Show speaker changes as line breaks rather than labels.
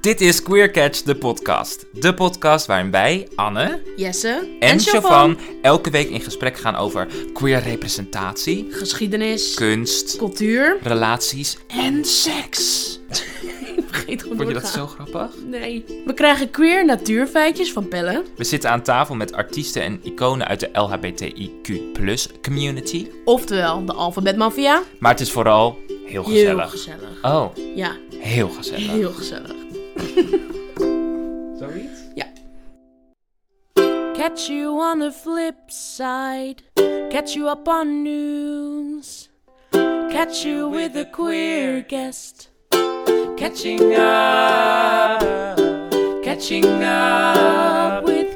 Dit is Queer Catch, de podcast. De podcast waarin wij, Anne
Jesse
en
Chavan.
Chavan elke week in gesprek gaan over queer representatie,
Geschiedenis,
kunst,
cultuur.
relaties en seks.
Ik vergeet gewoon
Vond je
door
dat
te gaan.
zo grappig?
Nee. We krijgen queer natuurfeitjes van Pelle.
We zitten aan tafel met artiesten en iconen uit de LHBTIQ community.
Oftewel, de alfabetmafia.
Maar het is vooral heel
Heel
gezellig.
gezellig.
Oh,
Ja,
heel gezellig.
heel gezellig.
Zoiets?
Catch you on the flip side. Catch you up on news. Catch you with a queer guest.
Catching up, catching up.
With